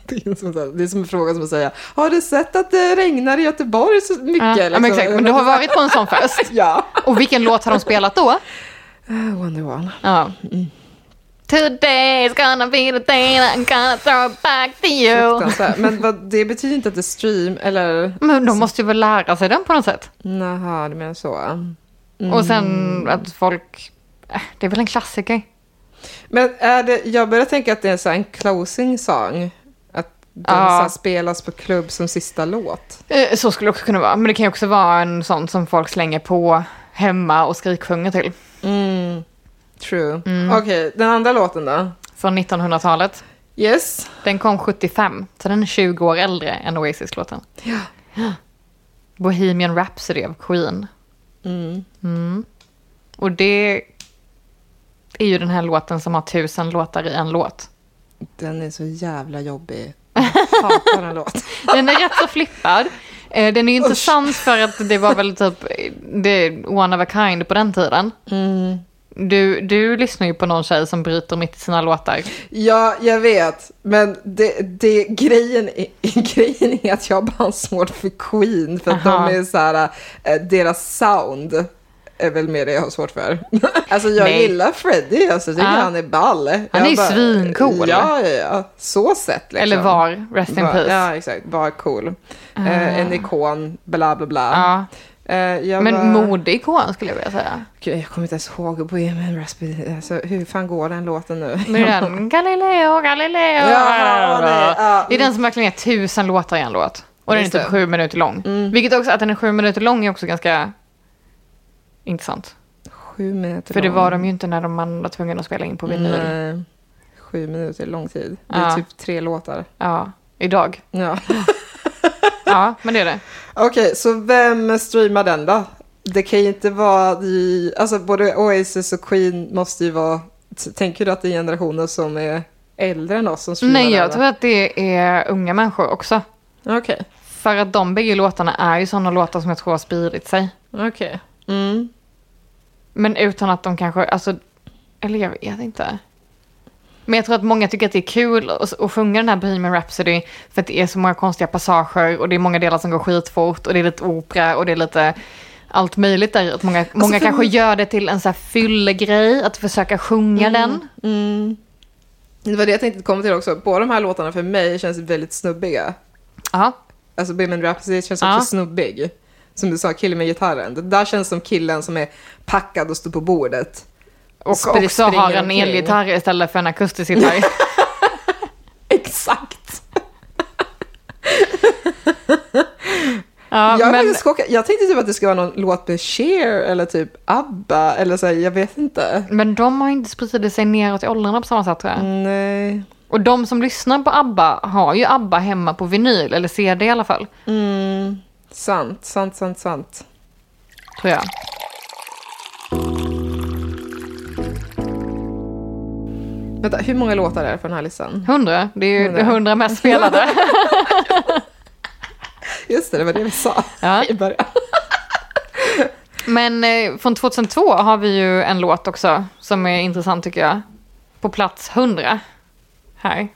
Det är, som, det är som en fråga som att säga, har du sett att det regnar i Göteborg så mycket? Ja, ja, Liksom. men exakt. Men du har varit på en sån fest. Ja. Och vilken låt har de spelat då? Uh, Wonderwall. Ja. Today is gonna be the day that I'm gonna throw it back to you. Fruktansvärt. Men vad, det betyder inte att det stream, eller? Men de måste ju väl lära sig den på något sätt. Naha, du menar så. Och sen att folk... äh, Det är väl en klassiker. Men är det, jag börjar tänka att det är så här en closing song. Att den Ja. så här spelas på klubb som sista låt. Eh, Så skulle det också kunna vara. Men det kan ju också vara en sån som folk slänger på hemma och skriksjunger till. True. Mm. Okej, den andra låten då? Från 1900-talet. Yes. Den kom 75, så den är 20 år äldre än Oasis-låten. Ja. Bohemian Rhapsody av Queen. Mm. Och det är ju den här låten som har tusen låtar i en låt. Den är så jävla jobbig. Jag hatar den låten. Den är rätt så flippad. Eh, Den är ju intressant för att det var väl typ eh, det, one of a kind på den tiden. Mm. Du, du lyssnar ju på någon tjej som bryter mitt i sina låtar. Ja, jag vet. Men det, det, grejen, är, grejen är att jag bara har svårt för Queen. För att Aha. de är så här, eh, deras sound är väl mer det jag har svårt för. alltså jag Nej. gillar Freddie, alltså, jag tycker Ja. han är ball. Han är ju svincool. Ja, ja, ja. Så sett liksom. Eller var, rest in Var- peace. Ah. Ja, exakt. Var cool. Eh, en ikon, bla bla bla. Ja. Eh, jag bara- Men modeikon skulle jag vilja säga. Gud, jag kommer inte ens ihåg Bohemian Rhapsody. Alltså, hur fan går den låten nu? Med den Galileo, Galileo. Jaha, nej, ja. Det är den som verkligen är tusen låtar i en låt. Och den är Just typ det. Mm. sju minuter lång. Vilket också, att den är sju minuter lång är också ganska intressant. Sju minuter För det lång. var de ju inte när de man var tvungna att spela in på vinyl. Nej. Sju minuter är lång tid. Det är Ja. typ tre låtar. Ja, idag. Ja. Ja, men det är det. Okej, så vem streamar den då? Det kan ju inte vara... i- Alltså både Oasis och Queen måste ju vara... t- Tänker du att det är generationer som är äldre än oss som streamar Nej, jag den? tror att det är unga människor också. tror Okej. För att de bägge låtarna är ju sådana låtar som jag tror har spridit sig. Okej. Mm. Men utan att de kanske, alltså, eller jag vet inte. Men jag tror att många tycker att det är kul att, att sjunga den här Bohemian Rhapsody för att det är så många konstiga passager och det är många delar som går skitfort och det är lite opera och det är lite allt möjligt där. Att många många Alltså, för- kanske gör det till en så här fyllegrej, att försöka Mm. sjunga den. Det var det jag tänkte komma till också. Båda de här låtarna för mig känns väldigt snubbiga. Ja. Alltså Bohemian Rhapsody känns Ja. också snubbig. Som du sa, killen med gitarren. Det där känns som killen som är packad och står på bordet. Och Spr- också har springer en omkring. elgitarr istället för en akustisk gitarr. Exakt. Ja, jag, är men, faktiskt chockad. jag tänkte typ att det skulle vara någon låt med Cher eller typ ABBA eller så här, jag vet inte. men de har inte spridit sig neråt i åldrarna på samma sätt tror jag. Nej. Och de som lyssnar på ABBA har ju ABBA hemma på vinyl, eller CD i alla fall, Mm. Sant, sant, sant, sant. tror jag. Vänta, hur många låtar är det på den här listan? 100, det är ju Hundra. det 100 mest spelade. Just det, det var det vi sa Ja. i början. Men eh, från 2002 har vi ju en låt också som är intressant tycker jag. På plats 100 här.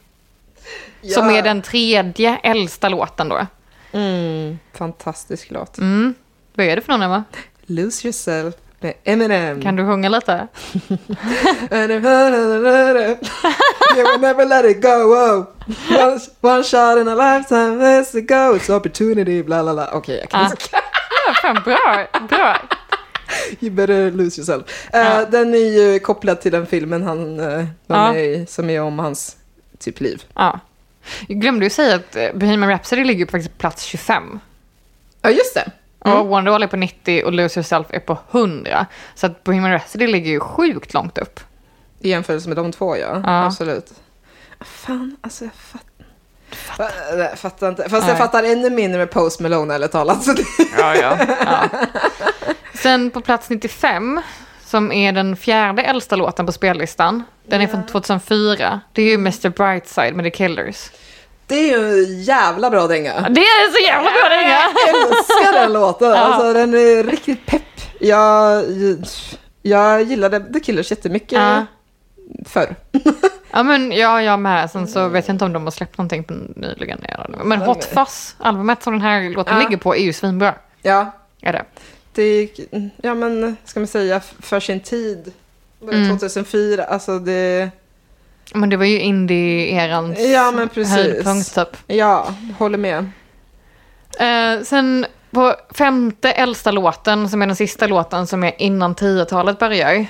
Som är den tredje äldsta låten då. Mm. Fantastisk låt. Mm. Vad är det för någon Emma? Lose Yourself med Eminem. Kan du sjunga lite? And if- You will never let it go. Whoa. One, one shot in a lifetime, let's go. It's opportunity, bla bla bla. Okej, jag kan Ah. Ja, fan bra, bra. You better lose yourself. Eh, Ja. Den är ju kopplad till den filmen han, eh, de Ja. är i, som är om hans typ liv. Ja. Jag glömde ju säga att eh, Bohemian Rhapsody ligger på faktiskt på plats 25. Ja, just det. Och Wonderwall är på 90 och Lose Yourself är på 100. Så att Bohemian Rhapsody ligger ju sjukt långt upp. I jämförelse med de två, ja. Ja. Absolut. Fan, alltså jag fattar. Fattar. Jag fattar inte. Fast jag Nej. fattar ännu mindre med Post Malone eller talat. Så det... Ja, ja. Sen på plats 95, som är den fjärde äldsta låten på spellistan. Den är från 2004. Det är ju Mr Brightside med The Killers. det är ju en jävla bra dänga. Det är så jävla bra dänga! Jag älskar den låten. Alltså, den är riktigt pepp. Jag, jag gillade The Killers jättemycket Ja. förr. Ja, men ja, jag med. Sen så vet jag inte om de har släppt någonting på nyligen. Men Hot Fuzz, albumet som den här låten Ja. ligger på, är ju svinbra. Ja, Är det. det gick, ja men ska man säga, f- för sin tid. Var det Mm. 2004, alltså det, Men det var ju indie-erans Ja, men precis. höjdpunkt typ. ja, håller med. Eh, sen på femte äldsta låten, som är den sista låten som är innan 10-talet börjar.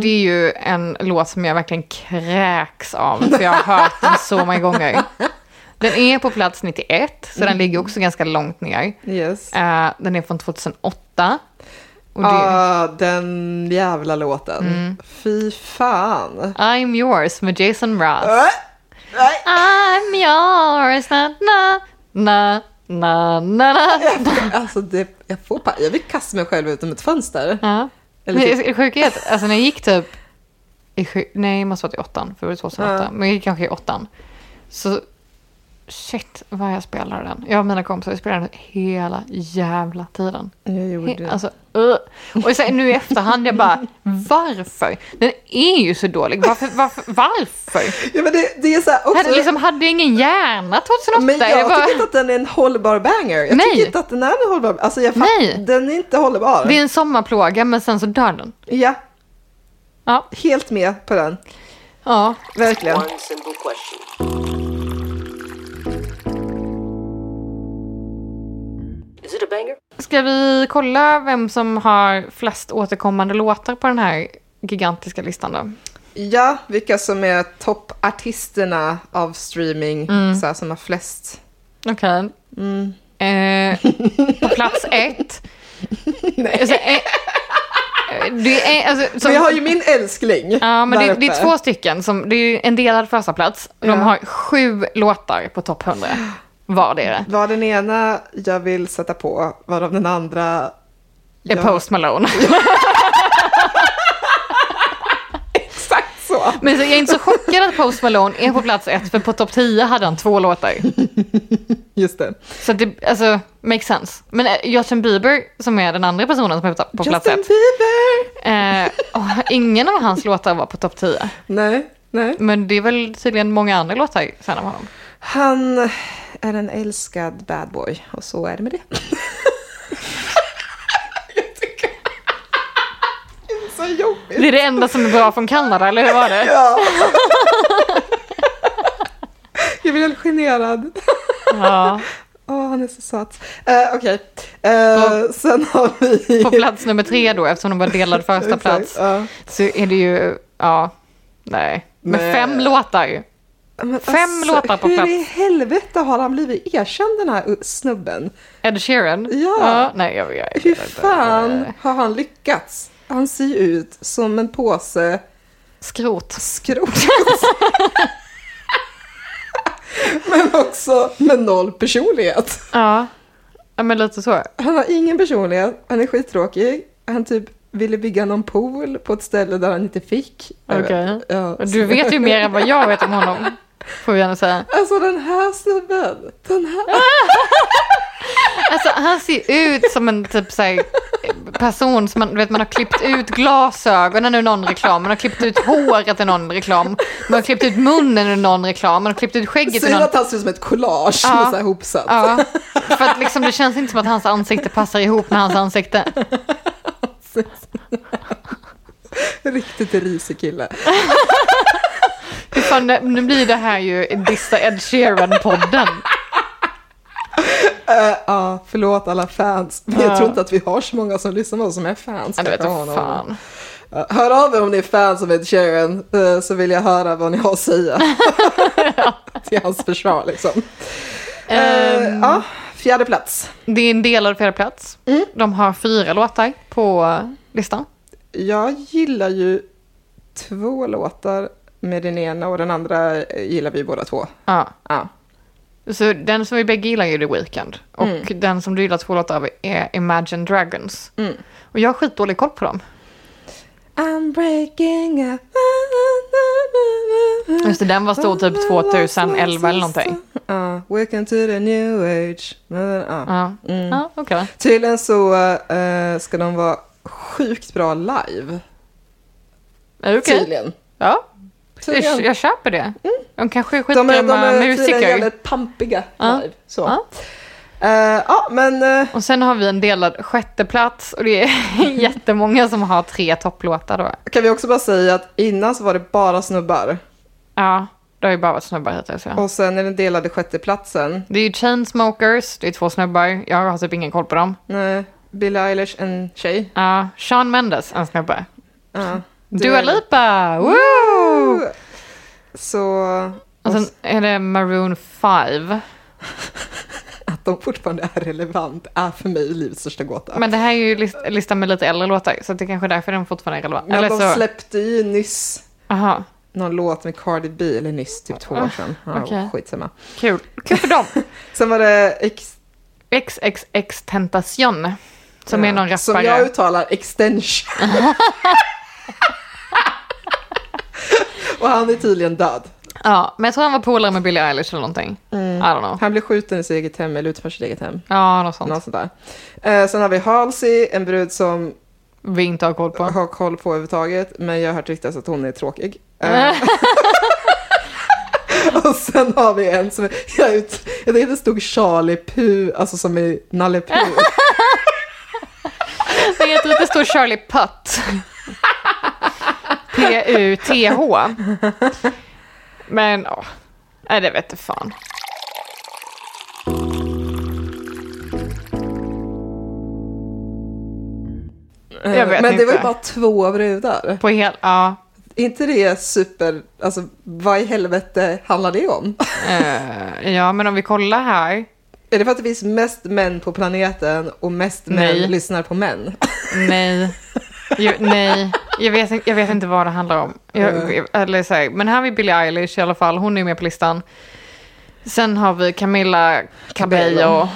Det är ju en låt som jag verkligen kräks av, för jag har hört den så många gånger. Den är på plats 91, så den ligger också ganska långt ner. Yes. Eh, den är från 2008. Och det Mm. är ah, den jävla låten. Fy fan. I'm yours med Jason Mraz. Äh, nej. I'm yours, na na na na na na. Alltså det, jag får pa- jag vill kasta mig själv ut genom ett fönster. Ja. Eller Men typ- det sjuka är att alltså, när jag gick typ... I sju, nej, det måste varit i åttan, för det var 2008. Ja. Men jag gick kanske i åttan. Så shit vad jag spelade den. Jag och mina kompisar vi spelade den hela jävla tiden. Jag gjorde He, det. alltså, uh. Och sen, nu i efterhand, jag bara varför? Den är ju så dålig. Varför? varför, varför? Ja, men det, det är så här också, Hade, liksom, hade jag ingen hjärna 2008? Alltså- Men jag Det var- tycker inte att den är en hållbar banger. Jag Nej. tycker inte att den är en hållbar Alltså jag fatt, Nej. den är inte hållbar. det är en sommarplåga, men sen så dör den. Ja, Ja. helt med på den. ja. Verkligen. One simple question. Is it a banger? Ska vi kolla vem som har flest återkommande låtar på den här gigantiska listan då? Ja, vilka som är toppartisterna av streaming, Mm. så här, som har flest. Okej. Eh, på plats ett. Nej. Alltså, eh, det är, alltså, som, Men jag har ju min älskling ja, men där det, det är uppe. två stycken. Som, det är ju en delad första plats. De Ja. har sju låtar på topp 100 vardera. Vad den ena jag vill sätta på, varav den andra... Det är jag- Post Malone. Exakt så! Men så, jag är inte så chockad att Post Malone är på plats ett, för på topp 10 hade han två låtar. Just det. Så att det, alltså, makes sense. Men eh, Justin Bieber, som är den andra personen som är på, på plats Justin ett, Bieber! eh, åh, ingen av hans låtar var på topp 10. Nej, Nej. Men det är väl tydligen många andra låtar sen av honom. Han är en älskad bad boy och så är det med det. Jag tycker- Det är så jobbigt. Det är det enda som är bra från Kanada, eller hur var det? Ja. Jag blir helt generad. Ja. Åh, han är så söt. Eh, Okej, Eh, sen har vi... På plats nummer tre då, eftersom de var delad första Exakt, plats, ja. så är det ju, ja, nej. Nej. Med fem låtar. Men alltså, Fem låtar på hur plats. i helvete har han blivit erkänd den här snubben? Ed Sheeran? Ja. nej, jag vet Hur fan har han lyckats? Han ser ju ut som en påse Skrot. skrot. Men också med noll personlighet. Ja. ja, men lite så. Han har ingen personlighet, han är skittråkig. Han typ ville bygga någon pool på ett ställe där han inte fick. Jag vet. Okej. Ja, Du så- vet ju mer än vad jag vet om honom. Får vi gärna säga. Alltså den här snubben, den här. Alltså han ser ut som en typ så här, person som man, du vet, man har klippt ut glasögonen ur någon reklam, man har klippt ut håret ur någon reklam, man har klippt ut munnen ur någon reklam, man har klippt ut skägget ur Säger någon... att han ser ut som ett collage Ja. med så här hopsatt. Ja, för att liksom, det känns inte som att hans ansikte passar ihop med hans ansikte. Riktigt risig kille. Fy Fan, nu- nu blir det här ju Dissa Ed Sheeran-podden. Ja, förlåt alla fans. Men jag tror inte att vi har så många som lyssnar på oss som är fans. Ja, det vet kanske, jag honom. fan. Ja, Eh, Hör av er om ni är fans av Ed Sheeran eh, så vill jag höra vad ni har att säga. Till hans försvar liksom. Ehm. Eh, ja, fjärde plats. Det är en delad fjärde plats. De har fyra låtar på listan. Jag gillar ju två låtar med den ena och den andra eh, gillar vi båda två. Ja. Ja. Så den som vi bägge gillar är ju The Weeknd. Och Mm. den som du gillar två låtar av är Imagine Dragons. Mm. Och jag har skitdålig koll på dem. I'm breaking up. Just det, den var stor Mm. typ 2011 eller någonting. Ja, welcome to the new age. Ja. Ja, Mm. ja okej. Tydligen så eh, ska de vara sjukt bra live. Är det okej? Tydligen. Ja, jag, Tydligen. Mm. jag köper det. De kanske är De är, de skitgrymma är tydligen musiker. jävligt pampiga Ja. live. Så. Ja. Eh, ja, men eh, Och sen har vi en delad sjätteplats och det är jättemånga som har tre topplåtar då. kan vi också bara säga att innan så var det bara snubbar. Ja, det har ju bara varit snubbar hittills. Ja. Och sen är den delade sjätteplatsen. Det är ju Chainsmokers, det är två snubbar. Jag har typ ingen koll på dem. Nej, Billie Eilish, en tjej. Ja, Sean Mendes, en snubbe. Ja. Dua Lipa! Woo! Så Och sen är det Maroon 5. att de fortfarande är relevant är för mig livets största gåta. Men det här är ju list listan med lite äldre låtar, så det är kanske är därför den fortfarande är relevant. Men Eller de så... släppte ju nyss Aha, någon låt med Cardi B, eller nyss, typ två år sedan. Ja, Ah, Okej. Skitsamma. kul. Kul för dem. Sen var det ex- XXX Tentacion, som är någon rappare. Som jag uttalar, extension. Och han är tydligen död. Ja, men jag tror han var polare med Billie Eilish eller någonting. I don't know. Han blev skjuten i sitt eget hem, eller utanför sitt eget hem. Ja, något sånt. Något sånt där. Eh, sen har vi Halsey, en brud som Vi inte har koll på. har koll på överhuvudtaget, men jag har hört ryktas att hon är tråkig. Eh, Nej. och sen har vi en som är, jag, ut, jag tänkte det stod Charlie Puh, alltså som i Nalle Eh, Puh. Jag heter att det står Charlie Putt. P-U-T-H. Men ja, nej det vet du fan. Eh, Jag vet men det var ju inte. bara två brudar. På hel, ja. inte det super, alltså vad i helvete handlar det om? Eh, ja, men om vi kollar här. Är det för att det finns mest män på planeten och mest män Nej. lyssnar på män? Nej. Jo, nej, jag vet, inte- jag vet inte vad det handlar om. Jag, eller så här, men här har vi Billie Eilish i alla fall, hon är med på listan. Sen har vi Camilla Cabello,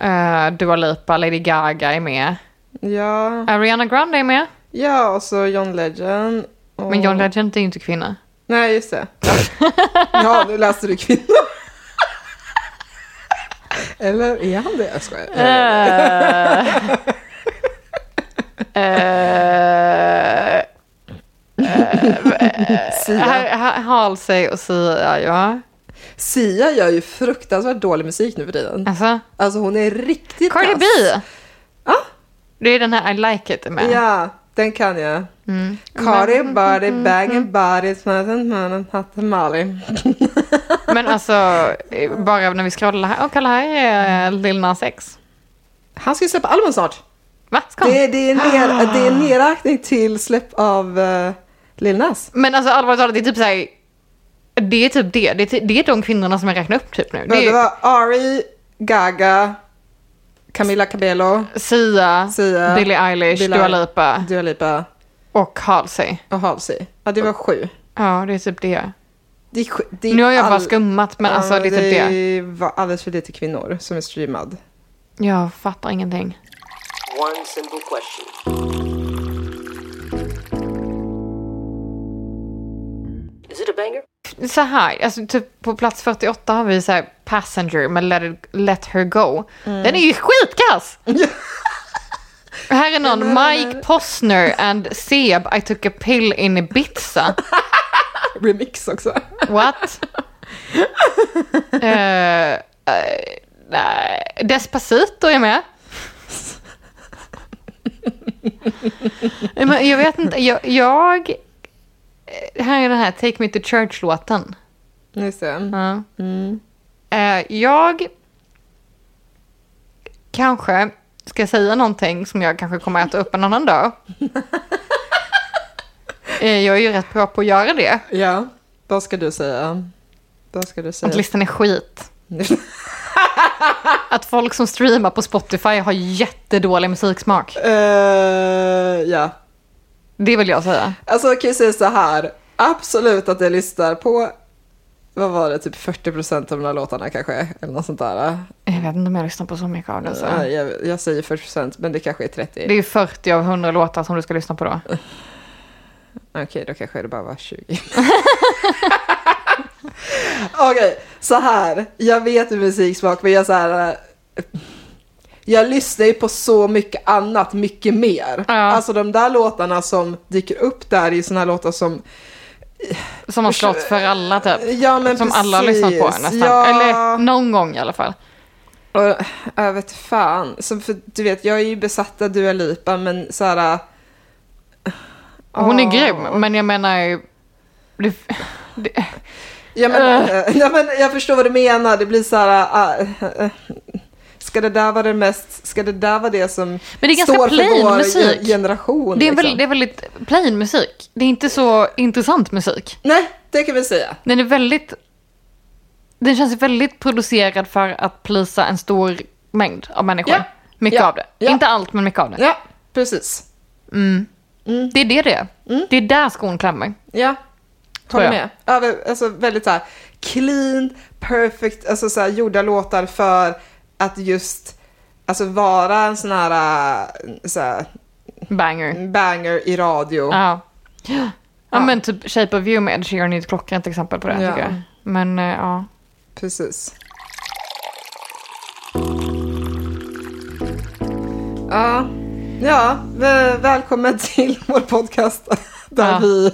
eh, Dua Lipa, Lady Gaga är med. Ja, Ariana Grande är med, ja och så John Legend. Och... men John Legend är ju inte kvinna. Nej, just det. ja, nu läste du kvinna. Eller är han det? Jag skojar. Eh, eh, Sia. ha- ha- hal sig och säga ja. Sia gör ju fruktansvärt dålig musik nu för tiden. Alltså, Alltså hon är riktigt Cardi B! Ja. Det är den här I like it med. Ja, den kan jag. Mm. Cardi body banging body smatten mannen hatten Molly. Men alltså, eh, bara när vi scrollar här. Åh, kolla här är eh, Lil Nas X. Han ska ju släppa album snart. Va? Ska han? Det, är- det, är, Ah. ner, det är en nedräkning till släpp av uh, Lil Nas. Men alltså allvarligt talat, det är typ så här. Det är typ det. Det är, ty- det är de kvinnorna som jag räknar upp typ nu. Det, Det är var Ari, Gaga, Camila Cabello, Sia, Sia, Billie Eilish, Billie- Dua Lipa Dua Lipa och Halsey. och Halsey. Ja, det var sju. Ja, det är typ det. Det är sju det är Nu har jag bara all- skummat, men Ja, alltså det är typ det. Det var alldeles för lite kvinnor som är streamad. Jag fattar ingenting. One simple question. Is it a banger? Så här, alltså typ på plats 48 har vi så här Passenger med Let, it, let her go. Den är ju skitkass! här är någon Mike Posner and Seb I took a pill in Ibiza. Remix också. What? Eh, eh, nej. Despacito är med. Men jag vet inte, jag... jag eh, här är den här Take Me To Church-låten. Just det. Ja. Mm. Eh, jag kanske ska säga någonting som jag kanske kommer att äta upp en annan dag. Eh, jag är ju rätt bra på att göra det. Ja, vad ska du säga? Vad ska du Att säga? listan är skit. Att folk som streamar på Spotify har jättedålig musiksmak. Eh, ja, Det vill jag säga. alltså jag kan ju säga så här. Absolut att jag lyssnar på, vad var det, typ 40% av de här låtarna kanske? Eller något sånt där. Eh, Jag vet inte om jag lyssnar på så mycket av det. Så. Ja, jag, jag säger 40% men det kanske är 30. Alltså. Det är ju 40 av 100 låtar som du ska lyssna på då. Okej, då kanske det bara var 20. Okej, så här. Jag vet hur musiksmak, men jag så här. eh, Jag lyssnar ju på så mycket annat, mycket mer. Ja. Alltså de där låtarna som dyker upp där är ju såna här låtar som... Som har slått för alla typ. Ja, men som precis. alla har lyssnat på nästan. Ja. Eller någon gång i alla fall. Och, äh, jag vet fan. Så för, du vet, jag är ju besatt av Dua Lipa, men så här... äh, Hon Ja. är grym, men jag menar ju... Det, det, Ja, men, Äh. eh, ja, men, jag förstår vad du menar. Det blir så här... ah, eh, eh, ska det där vara det mest... Ska det där vara det som Men det är ganska står för plain vår musik. ge- generation? det, är väl, liksom? det är väldigt plain musik. Det är inte så intressant musik. Nej, det kan vi säga. Den är väldigt... Den känns väldigt producerad för att plisa en stor mängd av människor. Ja. Mycket Ja. av det. Ja. Inte allt, men mycket av det. Ja, precis. Det är det det är. Det är där skon klämmer. Ja, Tror håller jag. med. Över, alltså, väldigt så här clean, perfect, alltså så här, gjorda låtar för att just alltså, vara en sån här, äh, så här Banger. banger i radio. Ja. ja. men typ Shape of You med Ed Sheeran är ett klockrent exempel på det. Ja. Tycker jag. Men eh, ja. Precis. Ja, ja vä- välkommen till vår podcast där Ja. vi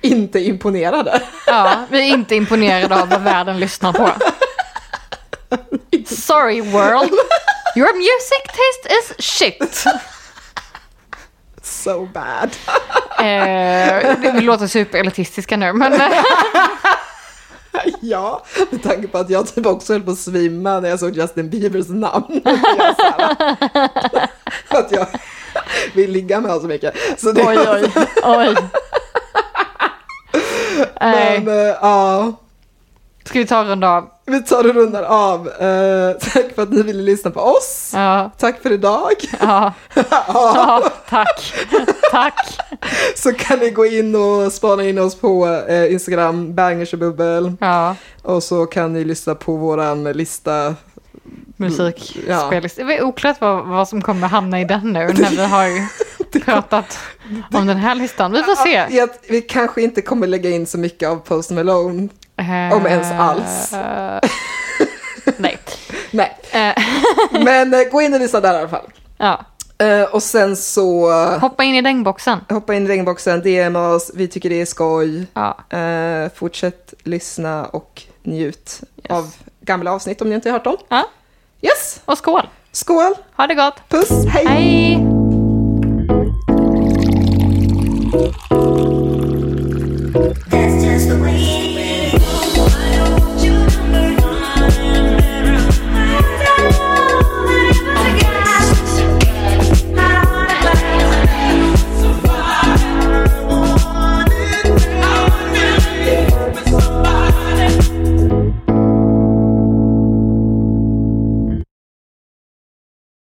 inte är imponerade. ja, vi är inte imponerade av vad världen lyssnar på. Sorry world. Your music taste is shit. So bad. Eh, det- vi låter superelitistiska nu, men... eh, Ja, med tanke på att jag typ också höll på att svimma när jag såg Justin Biebers namn. Jag så här, att jag vill ligga med honom så mycket. Så det var- oj. Nej, Men, eh, ja. ska vi ta en runda av? Vi tar och rundar av. Eh, tack för att ni ville lyssna på oss. Ja, Tack för idag. ja, ja, tack, tack. Så kan ni gå in och spana in oss på eh, Instagram, bangers och bubbel. Ja, Och så kan ni lyssna på våran lista. musik, Ja. spellista. Det är oklart vad, vad som kommer hamna i den nu när vi har pratat om den här listan. Vi får se. Ja, att vi kanske inte kommer lägga in så mycket av Post Malone. om ens alls. Eh, Nej. Nej, Eh, men eh, gå in och lyssna där i alla fall. Ja, Eh, och sen så eh, Hoppa in i regnboxen. hoppa in i regnboxen, DM oss, vi tycker det är skoj. Ja. Eh, fortsätt lyssna och njut av gamla avsnitt om ni inte har hört dem. ja. Yes! Och skål. Skål! Ha det gott. Puss! Hej.